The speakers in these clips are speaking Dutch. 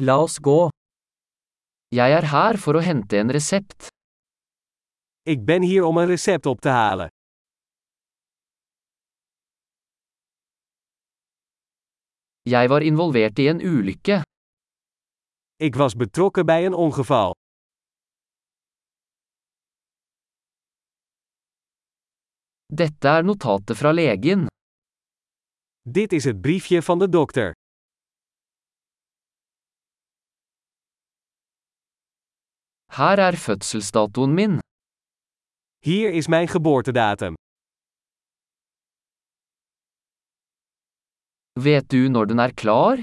La oss gå. Jeg er her for å hente en resept. Ik ben hier om een recept op te halen. Jeg var involvert i en ulykke. Ik was betrokken bij een ongeval. Dette er notatet fra legen. Dit is het briefje van de dokter. Her er fødselsdatoen min. Hier is mijn geboortedatum. Vet du når den er klar?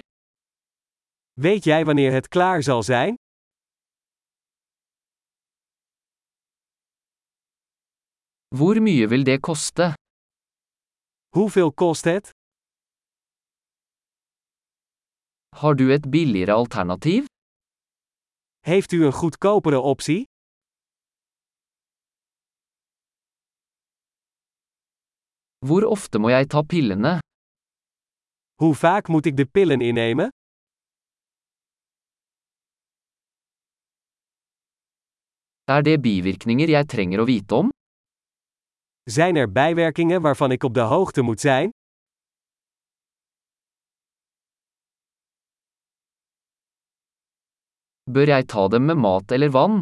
Weet jij wanneer het klaar zal zijn? Hvor mye vil det koste? Hoeveel kost het? Har du et billigere alternativ? Heeft u een goedkopere optie? Hvor ofte må jeg ta pillene? Hoe vaak moet ik de pillen innemen? Er det bivirkninger jeg trenger å vite om? Zijn er bijwerkingen waarvan ik op de hoogte moet zijn? Bør jeg ta dem med mat eller vann?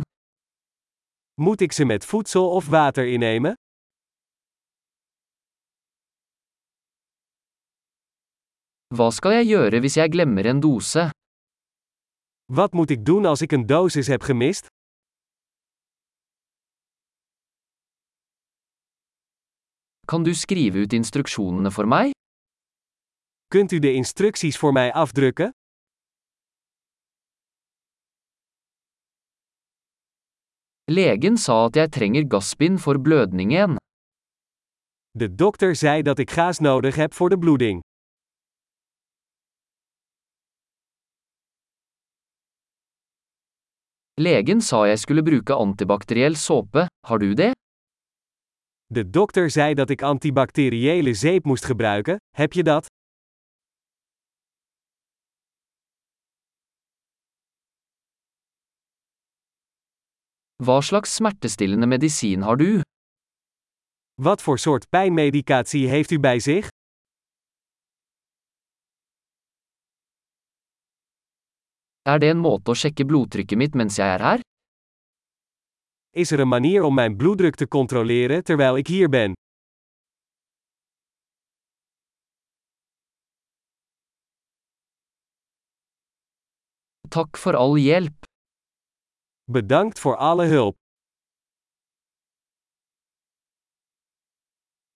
Moet ik ze met voedsel of water innemen? Hva skal jeg gjøre hvis jeg glemmer en dose? Wat moet ik doen als ik een dosis heb gemist? Kan du skrive ut instruksjonene for meg? Kunt u de instructies voor mij afdrukken? Legen sa at jeg trenger gassbind for blødningen. De dokter zei dat ik gaas nodig heb voor de bloeding. Legen sa jeg skulle bruke antibakteriell såpe, har du det? De dokter zei dat ik antibacteriële zeep moest gebruiken, heb je dat? Hva slags smertestillende medisin har du? Wat voor soort pijnmedicatie heeft u bij zich? Er det en måte å sjekke blodtrykket mitt mens jeg er her? Is er een manier om mijn bloeddruk te controleren terwijl ik hier ben? Takk for all hjelp. Bedankt voor alle hulp.